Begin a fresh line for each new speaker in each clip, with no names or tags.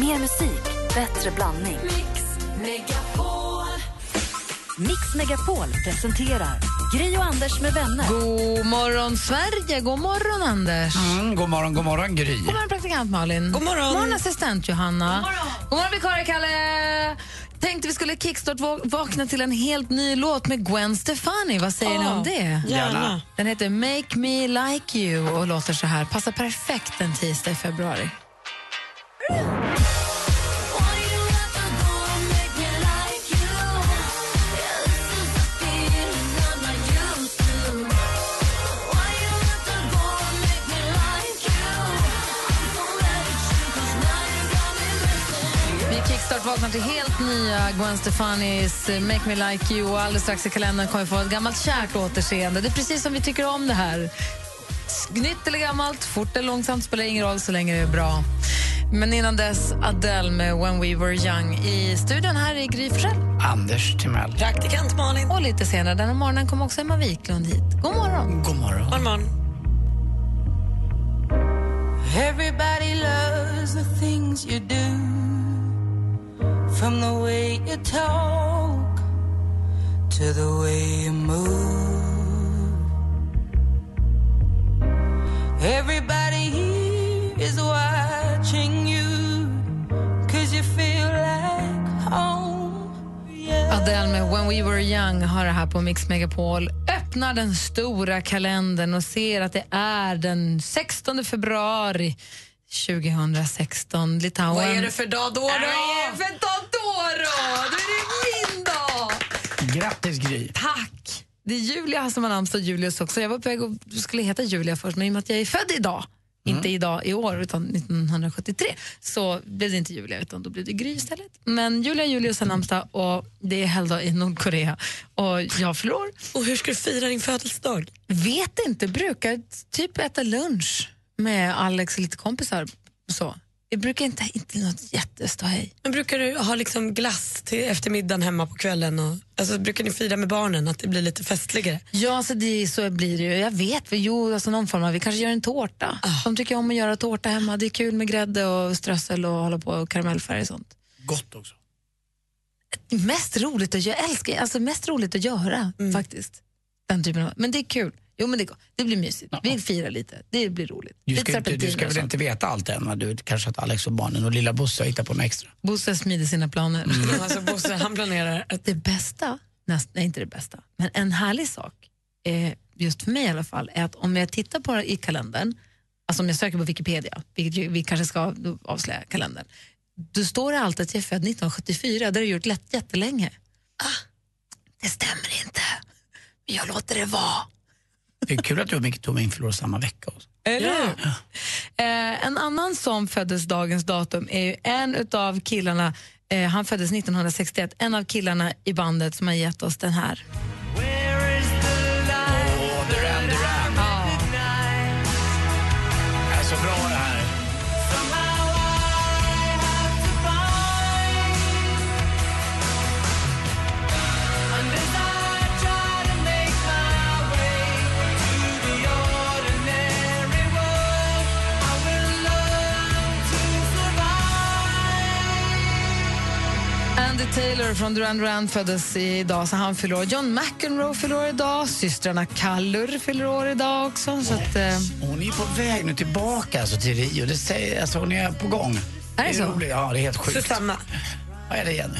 Mer musik, bättre blandning.
Mix Megapol.
Mix Megapol presenterar Gri och Anders med vänner.
God morgon, Sverige! God morgon, Anders!
Mm, god morgon, god morgon Gry.
God morgon, praktikant Malin. God morgon, morgon assistent Johanna. God morgon, God morgon vikarie Kalle. Tänkte vi skulle kickstart-vakna till en helt ny låt med Gwen Stefani. Vad säger ni om det?
Gärna.
Den heter Make Me Like You och låter så här. Passar perfekt en tisdag i februari. Vi kickstart-vaknar till helt nya Gwen Stefanis eh, Make Me Like You och alldeles strax i kalendern kommer vi få ett gammalt kärt återseende. Det är precis som vi tycker om det här. S- Nytt eller gammalt, fort eller långsamt spelar ingen roll så länge det är bra. Men innan dess Adele med When We Were Young i studion här i Gry Forssell.
Anders Timell.
Praktikant Malin.
Och lite senare denna morgonen kommer också Emma Wiklund hit. God morgon!
God morgon.
God morgon.
Everybody loves the things you do From the way you talk To the way you move Everybody here is watching you Cause you feel like home yeah.
Adele med When We Were Young har det här på Mix Megapol. Öppnar den stora kalendern och ser att det är den 16 februari 2016. Litauen.
Vad är det för dag då? då?
Vad är det för dag då? då? Då är det min dag!
Grattis Gry.
Tack! Det är Julia som har namnsdag, Julius också. Jag var på väg att skulle heta Julia först, men i och med att jag är född idag, inte idag i år utan 1973, så blev det inte Julia utan då blev det Gry istället. Men Julia Julius har namnsdag och det är helgdag i Nordkorea och jag förlorar.
Och hur ska du fira din födelsedag?
Vet inte, brukar typ äta lunch med Alex och lite kompisar. Så. Jag brukar inte, inte något jätteståhej.
Men brukar du ha liksom glass till eftermiddagen hemma på kvällen? Och, alltså, brukar ni fira med barnen att det blir lite festligare?
Ja, så, det, så blir det ju. Jag vet, vi, jo, alltså någon form av, vi kanske gör en tårta.
Ah.
De tycker om att göra tårta hemma. Det är kul med grädde och strössel och hålla på och karamellfärg och sånt.
Gott också.
Mest roligt att göra, älskar, alltså mest roligt att göra
Mm.
faktiskt. Den typen av, men det är kul. Jo, men det, är go- det blir mysigt. Vi firar lite. Det blir roligt.
Du
lite alltså.
ska, inte, du
serpentiner
ska
och
väl
sånt.
inte veta allt än? Va? Du, kanske att Alex och barnen och lilla Bosse har hittat på något extra.
Bosse smider sina planer.
Mm.
Alltså, Bosse han planerar att
Det bästa, näst, nej inte det bästa, men en härlig sak, eh, just för mig i alla fall, är att om jag tittar på i kalendern, alltså om jag söker på Wikipedia, vilket ju, vi kanske ska då avslöja kalendern, då står det alltid att jag är född 1974, det har jag gjort lätt jättelänge. Ah, det stämmer inte, men jag låter det vara.
Det är kul att du och Micke Tornving förlorar samma vecka. Också.
Eller eh, En annan som föddes dagens datum är ju en av killarna, eh, han föddes 1961, en av killarna i bandet som har gett oss den här.
Åh, Duran Duran. Det är så bra det här.
Andy Taylor från Duran Duran föddes idag, så han fyller år. John McEnroe fyller år idag, systrarna Kallur fyller år idag också. Så att, eh,
Hon är på väg nu tillbaka alltså, till Rio. Det säger, alltså, hon är på gång.
Är det så?
roligt. Ja, det är helt sjukt.
Susanna.
Vad är det Jenny?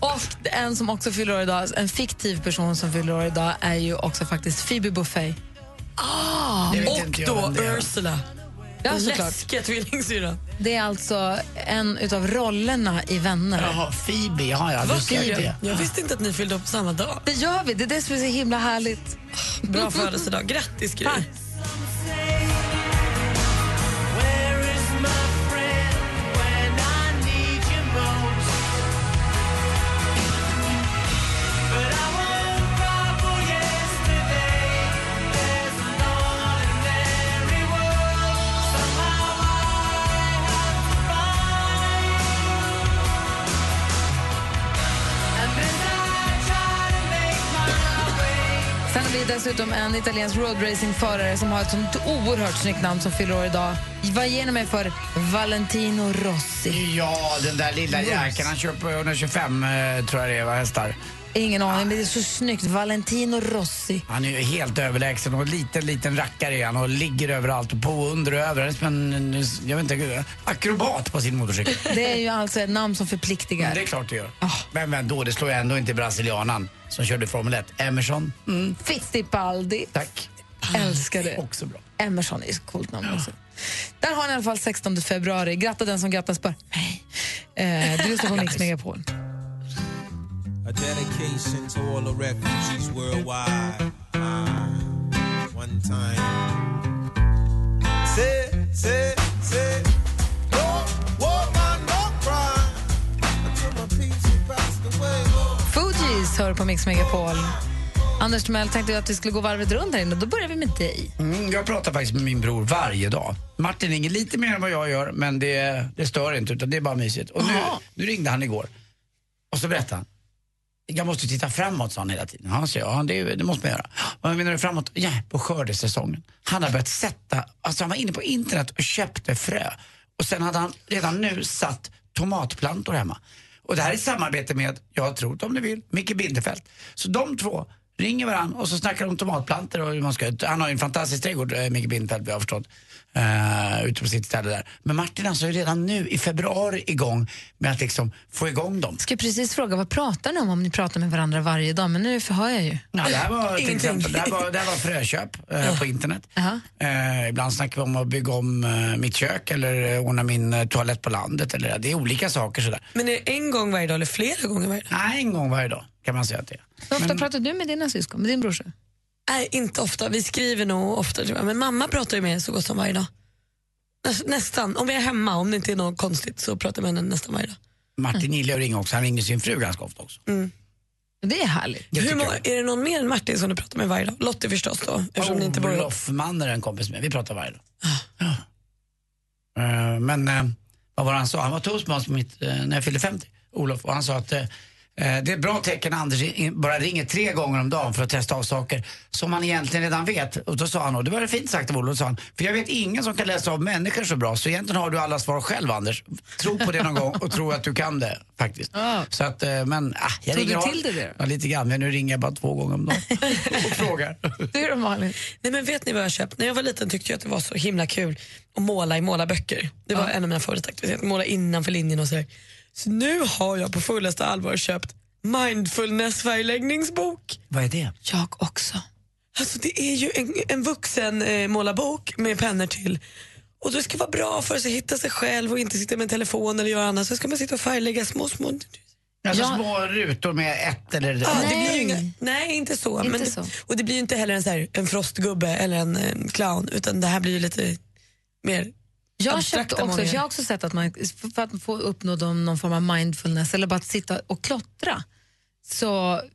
och en som också fyller år idag, en fiktiv person som fyller år idag är ju också faktiskt Phoebe Buffay.
Det vet
Och
inte jag
då
vem det är.
Ursula.
Ja, såklart.
Läskiga tvillingsyrran.
Det är alltså en av rollerna i Vänner.
Jaha, Phoebe. Ja, ja, du
Vad
ser
kul.
det.
Jag visste inte att ni fyllde upp på samma dag.
Det gör vi, det är det som är så himla härligt.
Bra födelsedag. Grattis, Gry.
Tack. Sen Han blir dessutom en italiensk roadracingförare som har ett sånt oerhört snyggt namn som fyller år idag. Vad ger ni mig för Valentino Rossi?
Ja, den där lilla jäkeln. Han kör på 125 eh, tror jag det är, va, hästar.
Ingen aning, men det är så snyggt. Valentino Rossi.
Han är ju helt överlägsen och liten, liten rackare är han och ligger överallt och på och under och över. Han är som en, en- jag vet inte, akrobat på sin motorcykel.
Det är ju alltså ett namn som förpliktigar.
Det är klart det gör. Men, men då, det slår jag ändå inte brasilianan som körde Formel 1. Emerson, mm,
Fittipaldi.
tack.
Älskar det.
Också bra.
Emerson är ju ett coolt namn också. Där har ni i alla fall 16 februari. Gratta den som grattas bör. Nej. Eh, du lyssnar på Mix Megapol.
A dedication to all the refugees worldwide. Ah, one time. Say, say, say. No woman, no cry. Until my peace passed away.
Fugees hör på Mix Megapol. Anders Timell tänkte ju att vi skulle gå varvet runt här inne. och Då börjar vi med dig.
Mm, jag pratar faktiskt med min bror varje dag. Martin ringer lite mer än vad jag gör, men det, det stör inte utan det är bara mysigt. Och nu, nu ringde han igår och så berättade han. Jag måste titta framåt, sa han hela tiden. Han sa, ja, det, det måste man göra. Vad menar du framåt? Ja, på skördesäsongen. Han har börjat sätta, alltså han var inne på internet och köpte frö. Och sen hade han redan nu satt tomatplantor hemma. Och det här är i samarbete med, jag tror det om du vill, Micke Bindefeld. Så de två ringer varandra och så snackar de om tomatplantor och hur man ska ut. Han har ju en fantastisk trädgård, eh, Micke Bindefeld, vi har förstått. Uh, ute på sitt ställe där. Men Martin alltså är redan nu i februari igång med att liksom få igång dem.
Jag ska precis fråga vad pratar ni om om ni pratar med varandra varje dag, men nu förhör jag ju.
Ja, det här var till
Ingenting.
exempel, det här var, det här var frököp eh, på internet.
Jaha.
Eh, ibland snackar vi om att bygga om eh, mitt kök eller eh, ordna min eh, toalett på landet. Eller, det är olika saker sådär.
Men är det en gång varje dag eller flera gånger varje dag?
Nej, en gång varje dag kan man säga att det är.
Hur ofta pratar du med dina syskon, med din brorsa?
Nej, inte ofta. Vi skriver nog ofta tror jag. Men mamma pratar ju med henne så gott som varje dag. Näs- Nästan. Om jag är hemma, om det inte är något konstigt så pratar jag med henne nästan varje dag.
Martin gillar att ringa också, han ringer sin fru ganska ofta också.
Det är härligt.
Det
Hur
tycker
många,
jag.
är det någon mer än Martin som du pratar med varje dag? Lottie förstås då, eftersom ni inte bor ihop.
Olof Manner Oh, är en kompis med, vi pratar varje dag. Ja. Eh, men eh, vad var det han sa? Han var toastmaster på mitt, eh, när jag fyllde 50, Olof, och han sa att eh, eh, det är ett bra tecken när Anders i- bara ringer tre gånger om dagen för att testa av saker som han egentligen redan vet. Och då sa han, och det var det fint sagt av Olof, sa han, för jag vet ingen som kan läsa av människor så bra så egentligen har du alla svar själv Anders. Tro på det någon gång och tro att du kan det faktiskt. Så att, eh, men, ah, jag
Tog du
ringer
till dig
honom-
det då?
Ja, lite grann, men nu ringer jag bara två gånger om dagen och frågar.
Du då Malin?
Nej men vet ni vad jag har köpt? När jag var liten tyckte jag att det var så himla kul att måla i målarböcker. Det var en av mina favoritaktiviteter, måla innanför linjen och sådär. Så nu har jag på fullaste allvar köpt mindfulness-färgläggningsbok.
Vad är det?
Jag också.
Alltså det är ju en, en vuxen eh, målarbok med pennor till. Och det ska vara bra för att hitta sig själv och inte sitta med en telefon eller göra annat. Så ska man sitta och färglägga små, små...
Alltså
Ja.
små rutor med ett eller
Ja, det
Nej.
blir ju inga, nej, inte så.
Inte
men
så.
Det, och det blir ju inte heller en, så här, en frostgubbe eller en, en clown utan det här blir ju lite mer...
Jag,
Abstrakta
köpte också,
målningar.
jag har också sett att man för att få uppnå dem, någon form av mindfulness eller bara att sitta och klottra så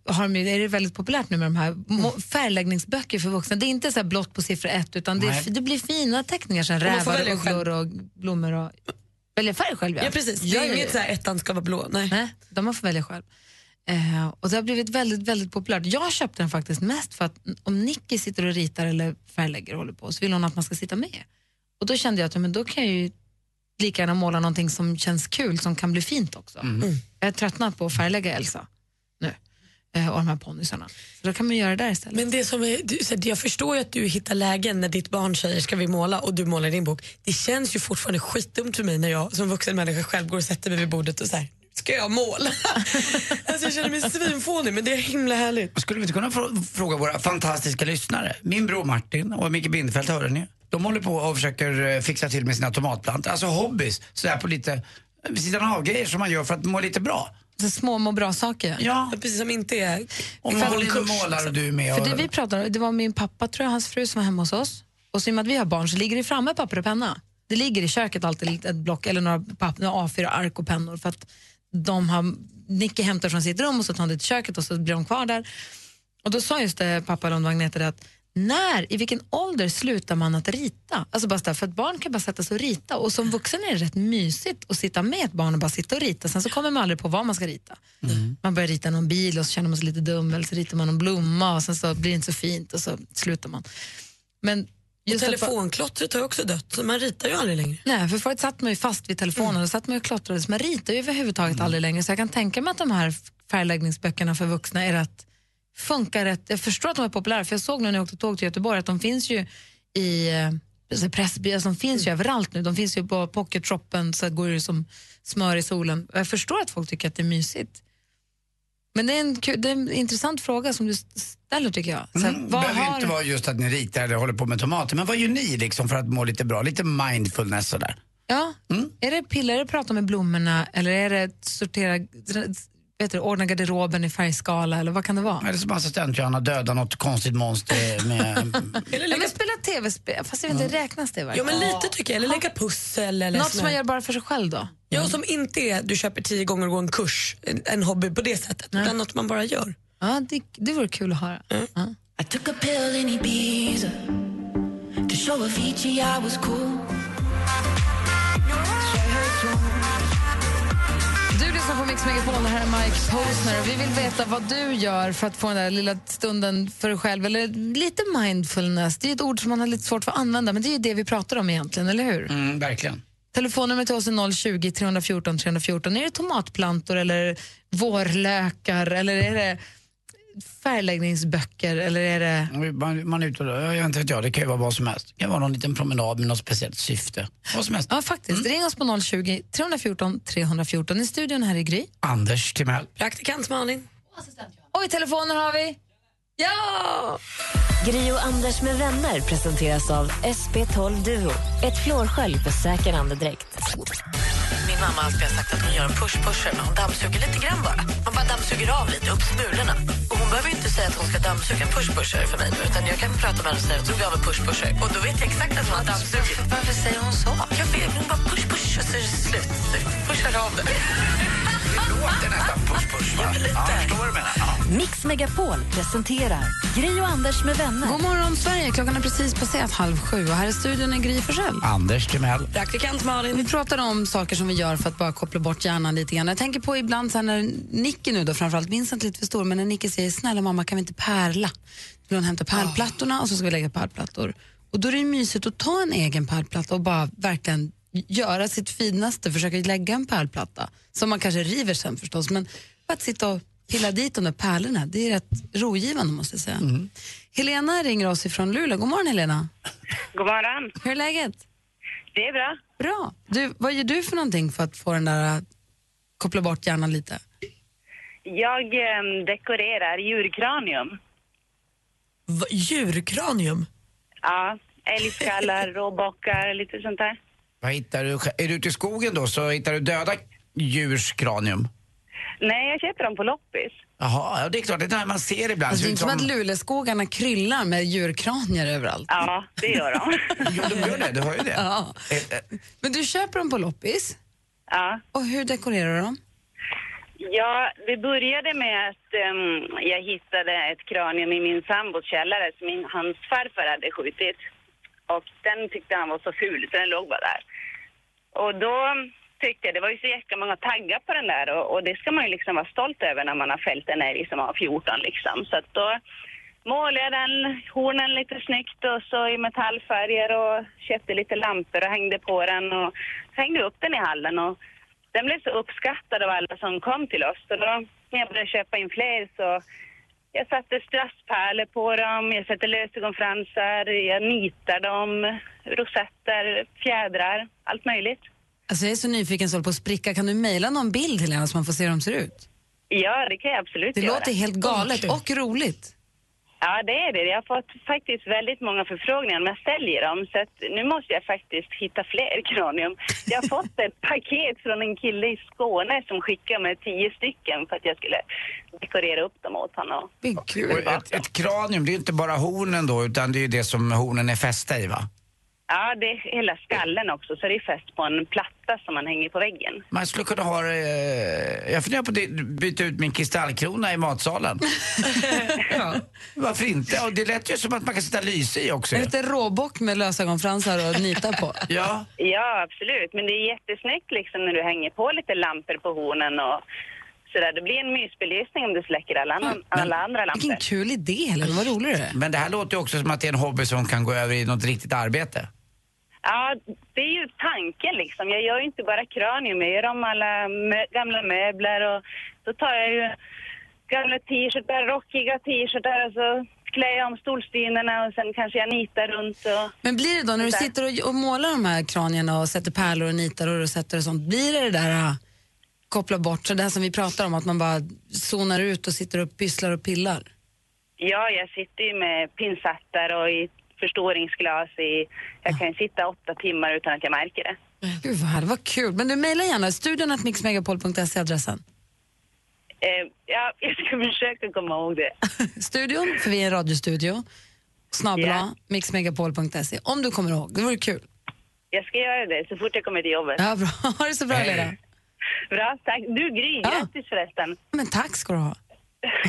har de, ju- är det väldigt populärt nu med de här
Mm.
må- färgläggningsböcker för vuxna. Det är inte så här blått på siffra ett utan det, är,
Nej.
f- det blir fina teckningar sen.
man får
Rävar,
välja själv.
ugglor och blommor. Och, välja färg själv
Ja, precis. Det är
Ja, ja,
inget
ja.
så här ettan ska vara blå. Nej.
Nej, de man får välja själv. Eh, och det har blivit väldigt, väldigt populärt. Jag köpte den faktiskt mest för att om Nicky sitter och ritar eller färglägger och håller på så vill hon att man ska sitta med. Och då kände jag att ja, men då kan jag ju lika gärna måla någonting som känns kul, som kan bli fint också. Jag är tröttnat på att färglägga Elsa nu eh, och de här ponnysarna. Så då kan man göra det där istället.
Men det som är, du, så här, jag förstår ju att du hittar lägen när ditt barn säger ska vi måla och du målar i din bok. Det känns ju fortfarande skitdumt för mig när jag som vuxen människa själv går och sätter mig vid bordet och så här, ska jag måla? alltså jag känner mig svinfånig men det är himla härligt.
Skulle vi inte kunna frå- fråga våra fantastiska lyssnare? Min bror Martin och Micke Bindefeld, hörde ni? De håller på och försöker eh, fixa till med sina tomatplantor. Alltså hobbys, sådär på lite eh, vid sidan av grejer som man gör för att må lite bra.
Så små må bra-saker.
Ja,
Precis som inte är...
om
ifall-
man håller och
kurs,
målar och du är med.
alltså. För
Och,
det vi pratade om, det var min pappa, tror jag, hans fru som var hemma hos oss. Och så i och med att vi har barn så ligger det framme papper och penna. Det ligger i köket alltid ett block eller några, papp, några A4-ark och pennor för att de har, Nicky hämtar från sitt rum och så tar han det till köket och så blir de kvar där. Och då sa just det, pappa Lundvagn heter det att när, i vilken ålder slutar man att rita? Alltså bara så där, för att barn kan bara sätta sig och rita och som vuxen är det rätt mysigt att sitta med ett barn och bara sitta och rita. Sen så kommer man aldrig på vad man ska rita. Man börjar rita någon bil och så känner man sig lite dum eller så ritar man någon blomma och sen så blir det inte så fint och så slutar man. Men
Och
just att bara-
telefonklottret har ju också dött, så man ritar ju aldrig längre.
Nej, för förut satt man ju fast vid telefonen
Mm.
och satt man ju och klottrades. Man ritar ju överhuvudtaget aldrig längre. Så jag kan tänka mig att de här färgläggningsböckerna för vuxna är rätt, funkar rätt. Jag förstår att de är populära, för jag såg nu när jag åkte tåg till Göteborg att de finns ju i eh, alltså pressbyråer, alltså de finns
Mm.
ju överallt nu. De finns ju på pocketshoppen så det går ju som smör i solen. Jag förstår att folk tycker att det är mysigt. Men det är en, kul, det är en intressant fråga som du ställer tycker jag. Så här,
Mm,
vad
behöver ju
har-
inte vara just att ni ritar eller håller på med tomater, men vad gör ni liksom för att må lite bra? Lite mindfulness sådär.
Ja. Är det pillare att prata med blommorna eller är det att sortera, vet du, ordna garderoben i färgskala eller vad kan det vara?
Eller så bara assistenthjärna döda något konstigt monster med...
Eller
Ja,
lägga,
men spela tv-spel, fast jag vet inte, räknas det
ja,
verkligen?
men lite tycker jag. Eller lägga pussel. Eller
Mm. Något som
sån
man
här-
gör bara för sig själv då?
Ja, som inte är du köper tio gånger och går en kurs, en, en hobby på det sättet, utan något man bara gör.
Ja, det, det vore kul att höra. Ja.
Mm. I took a pill in Ibiza to show Avicii I was cool.
Du lyssnar på Mix Megapol, det här är Mike Posner. Vi vill veta vad du gör för att få den där lilla stunden för dig själv. Eller lite mindfulness, det är ett ord som man har lite svårt för att använda, men det är ju det vi pratar om egentligen, eller hur?
Mm, verkligen.
Telefonnumret till oss är 020-314 314. Är det tomatplantor eller vårlökar eller är det färgläggningsböcker eller är det...
Man, man är ute och rör, jag inte vet jag, det kan ju vara vad som helst. Det kan vara någon liten promenad med något speciellt syfte. Vad som helst.
Ja, faktiskt. Ring oss på 020-314 314. I studion här i Gry.
Anders Timell.
Praktikant Malin.
Och i telefonen har vi... Ja!
Gri och Anders med vänner presenteras av SP12 Duo. Ett flårskölj för säker andedräkt.
Min mamma har alltid sagt att hon gör en push-pusher men hon dammsuger lite grann bara. Man bara dammsuger av lite, upp smulorna. Och hon behöver ju inte säga att hon ska dammsuga en push-pusher för mig nu, utan jag kan prata med henne och säga att hon av en push-pusher. Och då vet jag exakt att hon har dammsugit. Varför säger hon så? Jag vet, hon bara push-push och så är det slut. Pushar av det.
Mix Megapol presenterar Gri och Anders med vänner.
God morgon, Sverige. Klockan är precis passerat halv sju och här i studion är Gry Forssell.
Anders Timell.
Praktikant Malin.
Vi pratar om saker som vi gör för att bara koppla bort hjärnan lite grann. Jag tänker på ibland så här när Nicky nu då, framförallt Vincent lite för stor, men när Nicky säger snälla mamma kan vi inte pärla? Då vill hon hämta pärlplattorna och så ska vi lägga pärlplattor. Och då är det ju mysigt att ta en egen pärlplatta och bara verkligen göra sitt finaste, försöka lägga en pärlplatta. Som man kanske river sen förstås, men bara att sitta och pilla dit de där pärlorna, det är rätt rogivande måste jag säga. Helena ringer oss ifrån Luleå. God morgon Helena,
God morgon.
hur är läget?
Det är bra.
Bra. Du, vad gör du för någonting för att få den där, äh, koppla bort hjärnan lite?
Jag eh, dekorerar djurkranium.
V- djurkranium.
Ja, älgskallar, råbockar, lite sånt där.
Vad hittar du? sj- Är du ute i skogen då så hittar du döda djurs kranium?
Nej, jag köper dem på loppis.
Jaha, ja, det är klart, det där man ser ibland.
Alltså, det är
ser
inte
ut
som att Luleåskogarna kryllar med djurkranier överallt.
Ja, det gör de.
Jo, de gör det, du hör ju det.
Ja.
Eh, eh,
Men du köper dem på loppis
Ja.
och hur dekorerar du dem?
ja, det började med att ehm, jag hittade ett kranium i min sambos källare som min, hans farfar hade skjutit. Och den tyckte han var så ful, så den låg bara där. Och då tyckte jag, det var ju så jäkla många taggar på den där och, och det ska man ju liksom vara stolt över när man har fällt en älg som har 14 liksom. Så att då målade jag den, hornen lite snyggt och så i metallfärger och köpte lite lampor och hängde på den och hängde upp den i hallen och den blev så uppskattad av alla som kom till oss. Så då när jag började köpa in fler så jag satte strasspärlor på dem, jag satte lösögonfransar, jag nitar dem, rosetter, fjädrar, allt möjligt.
Alltså, jag är så nyfiken så håller på att spricka. Kan du mejla någon bild Helena så man får se hur de ser ut?
Ja, det kan jag absolut
Det
göra.
låter helt galet
Åh,
och roligt.
Ja, det är det. Jag har fått faktiskt väldigt många förfrågningar, men jag säljer dem. Så att nu måste jag faktiskt hitta fler kranium. Jag har fått ett paket från en kille i Skåne som skickade mig tio stycken för att jag skulle dekorera upp dem åt honom.
Men
och
gud.
ett, ett kranium, det är ju inte bara hornen då, utan det är ju det som hornen är fästa i va?
Ja, det är hela skallen också, så det är fäst på en platta som man hänger på väggen.
Man skulle kunna ha det... eh, Jag funderar på att byta ut min kristallkrona i matsalen. ja. Varför inte? Och det lät ju som att man kan sätta lyse i också.
En
ju.
liten råbock med lösögonfransar och nita på.
Ja.
Ja, absolut. Men det är jättesnyggt liksom när du hänger på lite lampor på hornen och sådär. Det blir en mysbelysning om du släcker alla, annan, alla andra lampor.
Vilken kul idé, Helen. Vad rolig du är.
Men det här låter ju också som att det är en hobby som kan gå över i något riktigt arbete.
Ja, det är ju tanken liksom. Jag gör ju inte bara kranium, jag gör om alla mö- gamla möbler och så tar jag ju gamla t-shirtar, rockiga t-shirtar och så klär jag om stolstynerna och sen kanske jag nitar runt och...
Men blir det då, när du sitter och, och målar de här kranierna och sätter pärlor och nitar och rosetter och sånt, blir det det där ah, koppla bort, så det här som vi pratar om, att man bara zonar ut och sitter och pysslar och pillar?
Ja, jag sitter ju med pinsettar och i förstoringsglas i... Jag kan ju sitta åtta timmar utan att jag märker det.
Gud vad härligt, vad kul. Men du mejla gärna, studion att mixmegapol.se adressen.
Eh, ja, jag ska försöka komma ihåg det.
Studion, för vi är en radiostudio, snabel mixmegapol.se. Om du kommer ihåg, det vore kul.
Jag ska göra det så fort jag kommer till jobbet.
Ja, bra. Ha det så bra, Lena.
Bra, tack. Du, Gry,
Ja.
grattis förresten.
Men tack ska du ha.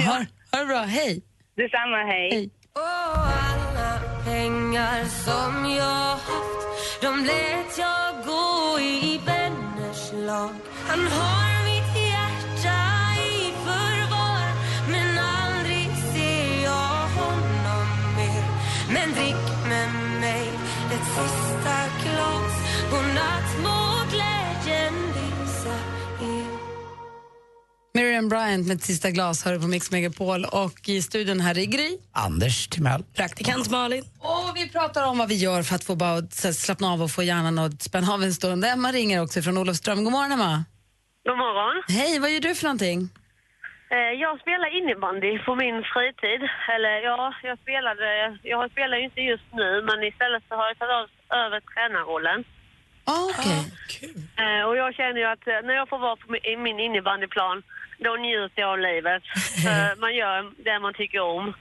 Ha, ha det bra, hej.
Detsamma, hej.
Hej.
alla pengar som jag haft De lät jag gå i vänners lag Han har mitt hjärta i förvar Men aldrig ser jag honom mer Men drick med mig ett sista glas Godnatt må glädjen lysa er
Miriam Bryant med ett sista glas hör du på Mix Megapol och i studion här i Gry.
Anders Timell.
Praktikant Malin.
Och vi pratar om vad vi gör för att få bara så här, slappna av och få hjärnan att spänna av en stund. Emma ringer också från Olofström. God morgon Emma.
God morgon.
Hej, vad gör du för någonting?
Eh, Jag spelar innebandy på min fritid. Eller ja, jag spelade, jag spelar ju inte just nu men istället så har jag tagit av- över tränarrollen.
Ah, okay.
Eh, Och jag känner ju att eh, när jag får vara på mi- i min innebandyplan då njuter jag av livet. Eh, Man gör det man tycker om.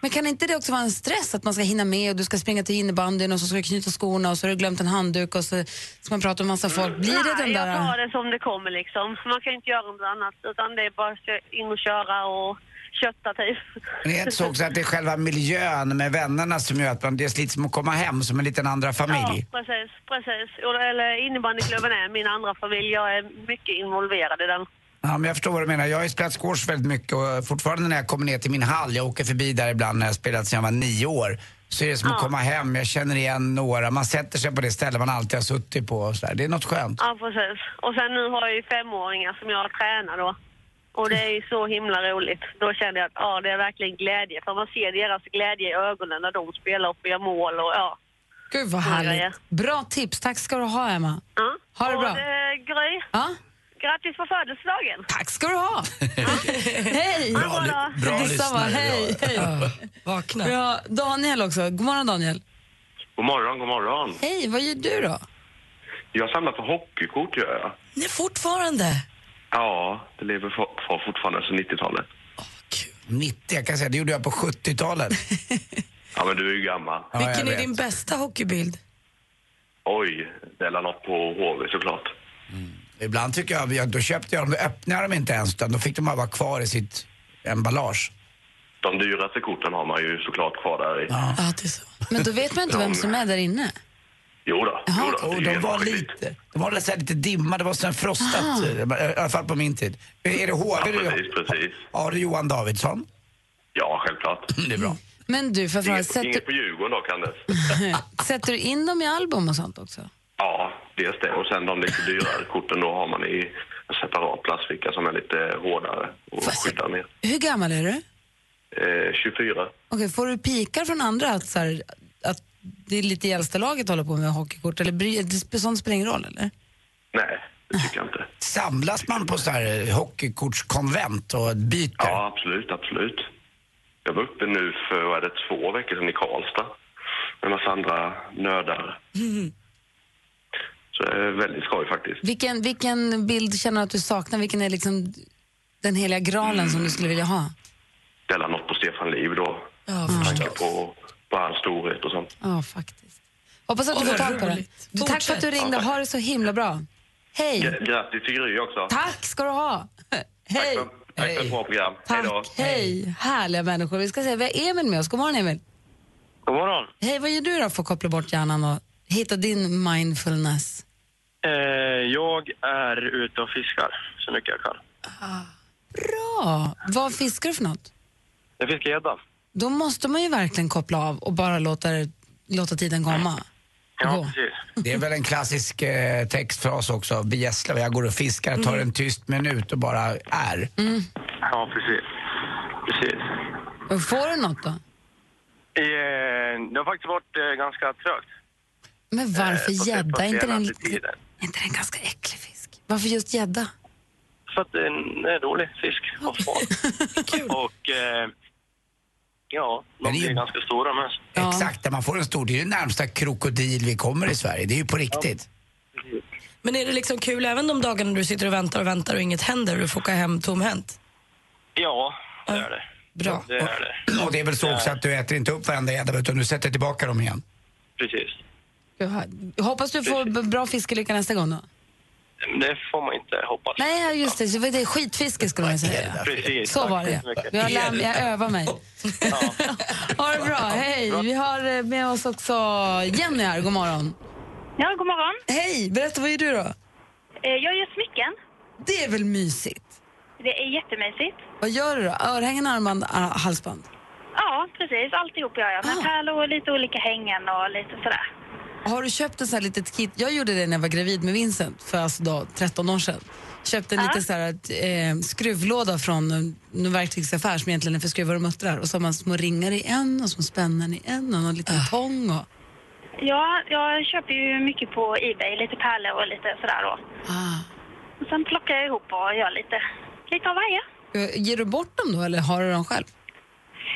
Men kan inte det också vara en stress att man ska hinna med och du ska springa till innebandyn och så ska du knyta skorna och så har du glömt en handduk och så ska man prata med massa folk. Blir det den
Nej,
eh?
jag tar
där...
det som det kommer liksom. Man kan ju inte göra något annat utan det är bara att kö- in och köra och kötta typ.
Men det är inte så också att det är själva miljön med vännerna som gör att man, det slits som att komma hem som en liten andra familj?
Ja, precis, precis. Och- Eller innebandyklubben är min andra familj. Jag är mycket involverad i den.
Ja, men jag förstår vad du menar. Jag har ju spelat squash väldigt mycket och fortfarande när jag kommer ner till min hall, jag åker förbi där ibland när jag spelat sedan jag var nio år, så är det som att
Ja.
komma hem. Jag känner igen några. Man sätter sig på det ställe man alltid har suttit på och så där. Det är något skönt.
Ja, precis. Och sen nu har jag ju femåringar som jag tränar då. Och det är ju så himla roligt. Då kände jag att ja, det är verkligen glädje. För man ser deras glädje i ögonen när de spelar och gör mål och ja.
Gud vad
Ja, det är.
härligt. Bra tips, tack ska du ha Emma.
ja.
Ha det
och eh,
bra.
Gry,
Ja?
grattis på födelsedagen!
Tack ska du ha. Hej!
Ha det bra.
bra
Detsamma,
lyssnare
hej, hej.
Vakna.
Vi har Daniel också. God morgon Daniel.
God morgon, god morgon.
Hej, vad gör du då?
Jag samlar på hockeykort gör jag.
Nej, fortfarande.
Ja, det lever fo- fo- fortfarande sedan 90-talet.
90, jag kan säga. Det gjorde jag på 70-talet.
Ja, men du är ju gammal.
Ja, jag
Vilken är
vet.
din bästa hockeybild?
Oj, det är väl något på HV såklart.
Ibland tycker jag, jag- då köpte jag dem, då öppnade jag dem inte ens utan då fick de bara vara kvar i sitt emballage.
De dyraste korten har man ju såklart kvar där i.
Ja.
Ja, det är så.
Men då vet man inte vem som är där inne.
Jo då,
Jaha.
jo då, det är
Och
ju
de
helt
var
oskyldigt.
lite, de var så här lite dimma, det var sån här frostat, i alla fall på min tid. Är det
Ja,
HV du
precis, precis.
Ja, det är Johan Davidsson. Mm,
Ja, självklart.
Det är bra.
Men du, för fan,
Inget, inget
sätter,
på Djurgården dock, Anders.
sätter du in dem i album och sånt också?
Ja, dels det. Och sen de lite dyrare korten då har man i en separat plastficka som är lite hårdare och
Fast-
skyddar mer.
Hur gammal är du?
Eh, 24.
Okej, får du pikar från andra att, så här, att det är lite i äldsta laget håller på med hockeykort? Eller bry- det- sånt spelar ingen roll, eller?
Nej, det tycker jag inte.
Samlas man på så här eh, hockeykortskonvent och byter?
Ja, absolut, absolut. Jag var uppe nu för vad är det, två veckor sedan i Karlstad med en massa andra nördar. Så det är väldigt skoj faktiskt.
Vilken, vilken bild känner du att du saknar? Vilken är liksom den heliga graalen som du skulle vilja ha?
Ställa något på Stefan Liv då.
Ja,
Tanka på, på hans storhet och sånt.
Ja, faktiskt. Hoppas att du får
Ja,
tag på den.
roligt.
Du, tack för att du
Fortsätt.
ringde.
Ja,
Ha det så himla bra. Hej.
Gr- Grattis till Gry också.
Tack ska du ha. Hej.
Tack för ett bra program. Hej då.
Hej. Härliga människor. Vi ska se, vi har Emil med oss. God morgon, Emil.
God morgon.
Hej, vad gör du då för att koppla bort hjärnan och hitta din mindfulness?
Eh, jag är ute och fiskar så mycket jag kan.
Bra. Vad fiskar du för något?
Jag fiskar gädda.
Då måste man ju verkligen koppla av och bara låta, låta tiden komma.
Ja, precis.
Det är väl en klassisk eh, textfras också av Bjäslöv. Jag går och fiskar, tar en tyst minut och bara är.
Ja, precis. precis.
Och får du något då?
Eh, det har faktiskt varit eh, ganska trögt.
Men
eh, på-
varför
på
gädda? Är inte den,
senaste tiden.
är inte den ganska äcklig fisk? Varför just gädda?
För att den är dålig fisk. Och, och eh, ja, de är ju ganska stora men.
Mm.
Exakt, där man får en stor. Det är ju närmsta krokodil vi kommer i Sverige. Det är ju på riktigt.
Men är det liksom kul även de dagarna du sitter och väntar och väntar och inget händer och du får åka hem tomhänt?
Ja, det är det.
Bra.
Det är det.
Och det är väl så också att du äter inte upp varenda gädda utan du sätter tillbaka dem igen.
Precis.
Gud, ha- Hoppas du får b- bra fiskelycka nästa gång då.
Men Det får man inte hoppas.
Nej, ja, just det. Så var det skitfiske skulle man säga.
Precis.
Så var det.
Tack så mycket.
Jag, lär, mig- jag övar mig. ha det bra. Hej. Vi har eh, med oss också Jenny här. God morgon.
Ja, god morgon.
Hej. Berätta, vad gör du då?
Eh, Jag gör smycken.
Det är väl mysigt?
Det är jättemysigt.
Vad gör du då? Örhängen, armband, ah, halsband?
Ja, precis. Alltihop gör jag. Med pärlor och lite olika hängen och lite sådär.
Har du köpt en sån här litet kit? Jag gjorde det när jag var gravid med Vincent för alltså då 13 år sedan. Köpte en
Ja.
liten så här, eh, skruvlåda från en- en verktygsaffär som egentligen är för skruvar och muttrar. Och så har man små ringar i en och små spännen i en och någon liten tång. Och...
Ja, jag köper ju mycket på Ebay. Lite pärlor och lite sådär då. Och sen plockar jag ihop och gör lite, lite av varje.
Eh, Ger du bort dem då eller har du dem själv?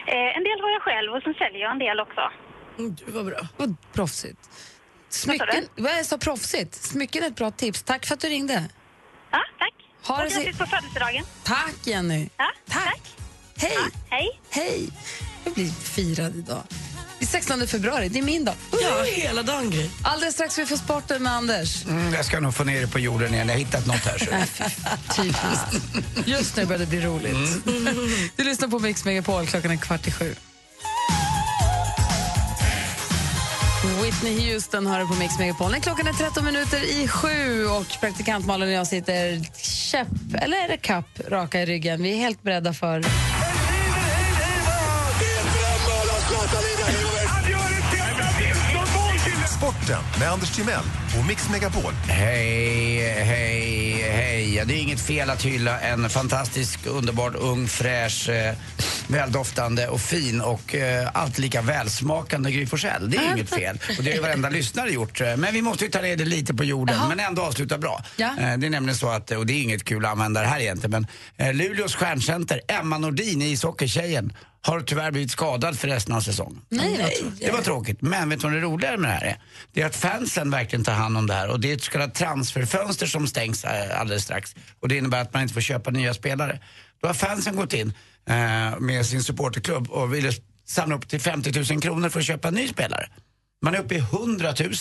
Eh, en del har jag själv och sen säljer jag en del också.
Du var bra.
Vad proffsigt. Smycken, vad jag sa proffsigt. Smycken är ett bra tips. Tack för att du ringde.
Ja, tack.
Ha
och
det så-
grattis på födelsedagen.
Tack Jenny.
Ja,
tack. Hej.
hej.
Hej. Jag blir firad idag. Det är 16 februari, det är min dag. Ja,
hela dagen Gry.
Alldeles strax ska vi få sporten med Anders.
Mm, jag ska nog få ner det på jorden igen. Jag har hittat något här. Så.
Nej, fy fan, Typiskt. Just nu börjar det bli roligt. Du lyssnar på Mix Megapol, klockan är kvart i sju. Whitney Houston hör du på Mix Megapol. Nej, Klockan är 13 minuter i sju och praktikant Malin och jag sitter käpp, eller är det kapp, raka i ryggen. Vi är helt beredda för...
Sporten med Anders Timell och Mix Megapol.
Hej, hej, hej. Ja, Det är inget fel att hylla en fantastisk, underbart ung, fräsch, eh, väldoftande och fin och eh, alltid lika välsmakande Gry Forssell. Det är inget fel. Och det har ju varenda lyssnare gjort. Eh, Men vi måste ju ta ner det lite på jorden, men ändå avsluta bra.
Ja.
Eh, Det är nämligen så att, eh, och det är inget kul att använda det här egentligen, men eh, Luleås stjärncenter, Emma Nordin, ishockeytjejen, har tyvärr blivit skadad för resten av säsongen.
Nej, vad
Nej, Det var tråkigt. Men vet du vad det roligare med det här är? Det är att fansen verkligen tar hand om det här. Och det är ett så kallat transferfönster som stängs eh, alldeles strax. Och det innebär att man inte får köpa nya spelare. Då har fansen gått in eh, med sin supporterklubb och ville samla upp till 50 000 kronor för att köpa en ny spelare. Man är uppe i 100 000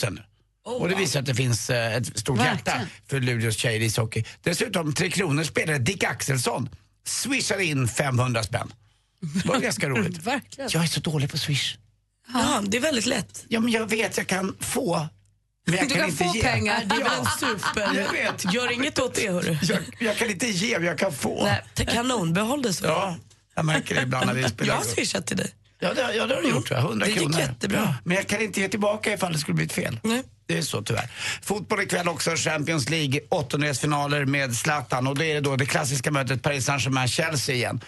Oh,
och det visar att det finns eh, ett stort hjärta för Luleås tjejer i ishockey. Dessutom Tre Kronors spelare Dick Axelsson swishade in 500 spänn. Det var ganska roligt.
Verkligen.
Jag är så dålig på swish.
Ja, det är väldigt lätt.
Ja, men jag vet jag kan få. Men jag
du
kan
kan,
inte
få
ge.
pengar. Det är
Ja.
väl super.
Jag vet.
Gör inget åt det hörru.
Jag, jag kan inte ge, men jag kan få.
Nej, ta- kanon, behåll det så.
Ja, jag märker det ibland när vi spelar.
Jag har swishat till dig.
Ja, det, ja, det har du gjort. tror jag. 100
Det gick
kronor.
jättebra.
Ja, Men jag kan inte ge tillbaka ifall det skulle bli ett fel. Det är så tyvärr. Fotboll ikväll också, Champions League, åttondelsfinaler med Zlatan. Och det är då det klassiska mötet Paris Saint-Germain-Chelsea igen.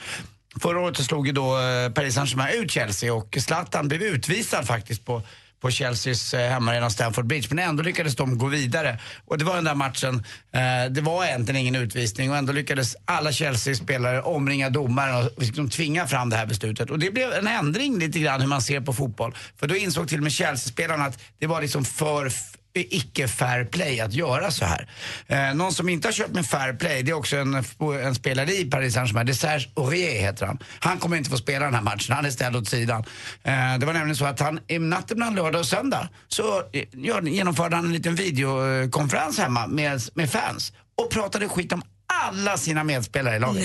Förra året så slog ju då eh, Paris Saint-Germain ut Chelsea och Zlatan blev utvisad faktiskt på på Chelseas eh, hemmaarena Stamford Bridge. Men ändå lyckades de gå vidare. Och det var den där matchen, eh, det var egentligen ingen utvisning och ändå lyckades alla Chelsea-spelare omringa domaren och liksom tvinga fram det här beslutet. Och det blev en ändring lite grann hur man ser på fotboll. För då insåg till och med Chelsea-spelarna att det var liksom för f- icke fair play att göra så här. Eh, någon som inte har köpt med fair play, det är också en, en spelare i Paris Saint-Germain, det är Serge Aurier heter han. Han kommer inte få spela den här matchen, han är ställd åt sidan. Eh, det var nämligen så att han i natten mellan lördag och söndag så eh, gör- genomförde han en liten videokonferens hemma med, med fans och pratade skit om alla sina medspelare i laget.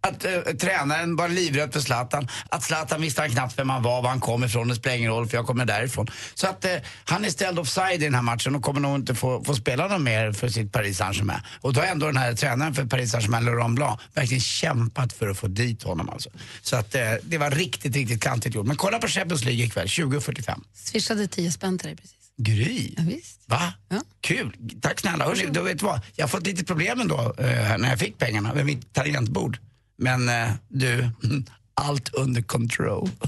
Att eh, tränaren var livrädd för Zlatan. Att Zlatan visste han knappt vem han var, var han kom ifrån. Det spelar ingen roll för jag kommer därifrån. Så att eh, han är ställd offside i den här matchen och kommer nog inte få, få spela någon mer för sitt Paris Saint-Germain. Och då har ändå den här tränaren för Paris Saint-Germain, Laurent Blanc, verkligen kämpat för att få dit honom alltså. Så att eh, det var riktigt, riktigt klantigt gjort. Men kolla på Champions League ikväll, 20.45.
Swishade 10 spänn till dig precis.
Gry!
Ja, visst.
Va? Kul! Tack snälla. Hörs, du vet du vad? Jag har fått lite problem ändå eh, när jag fick pengarna vid mitt tangentbord. Men eh, du, mm, allt under control.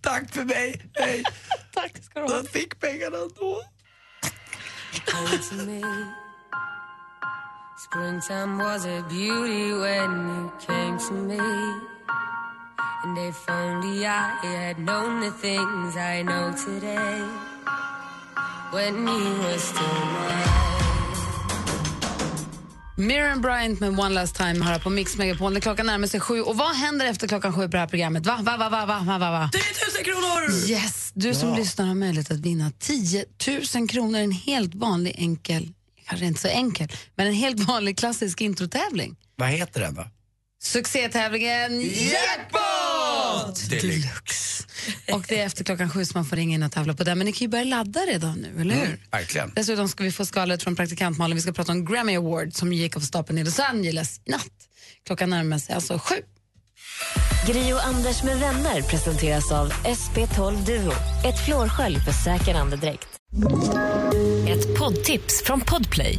Tack för mig. Hej.
Tack ska du
ha. Jag fick pengarna ändå.
Come to me. Springtime was a beauty when you came to me. And if only I had known the things I know today when you were still mine.
Miriam Bryant med One Last Time här på Mix Megapol. När Klockan närmar sig sju. Och vad händer efter klockan sju på det här programmet? Va, va, va, va, va, va, va, va?
10 000 kronor!
Yes! Du som
Ja.
lyssnar har möjlighet att vinna 10 000 kronor. En helt vanlig enkel, kanske inte så enkel, men en helt vanlig klassisk introtävling.
Vad heter den då?
Succétävlingen Jackpot!
Deluxe.
Och det är efter klockan sju som man får ringa in och tävla på den. Men ni kan ju börja ladda redan nu, eller hur?
Mm, verkligen.
Dessutom ska vi få skalet från praktikant Malin. Vi ska prata om Grammy Award som gick av stapeln i Los Angeles i natt. Klockan närmar sig alltså sju.
Gri och Anders med vänner presenteras av SP12 Duo. Ett flårskölj för säker andedräkt. Ett poddtips från Podplay.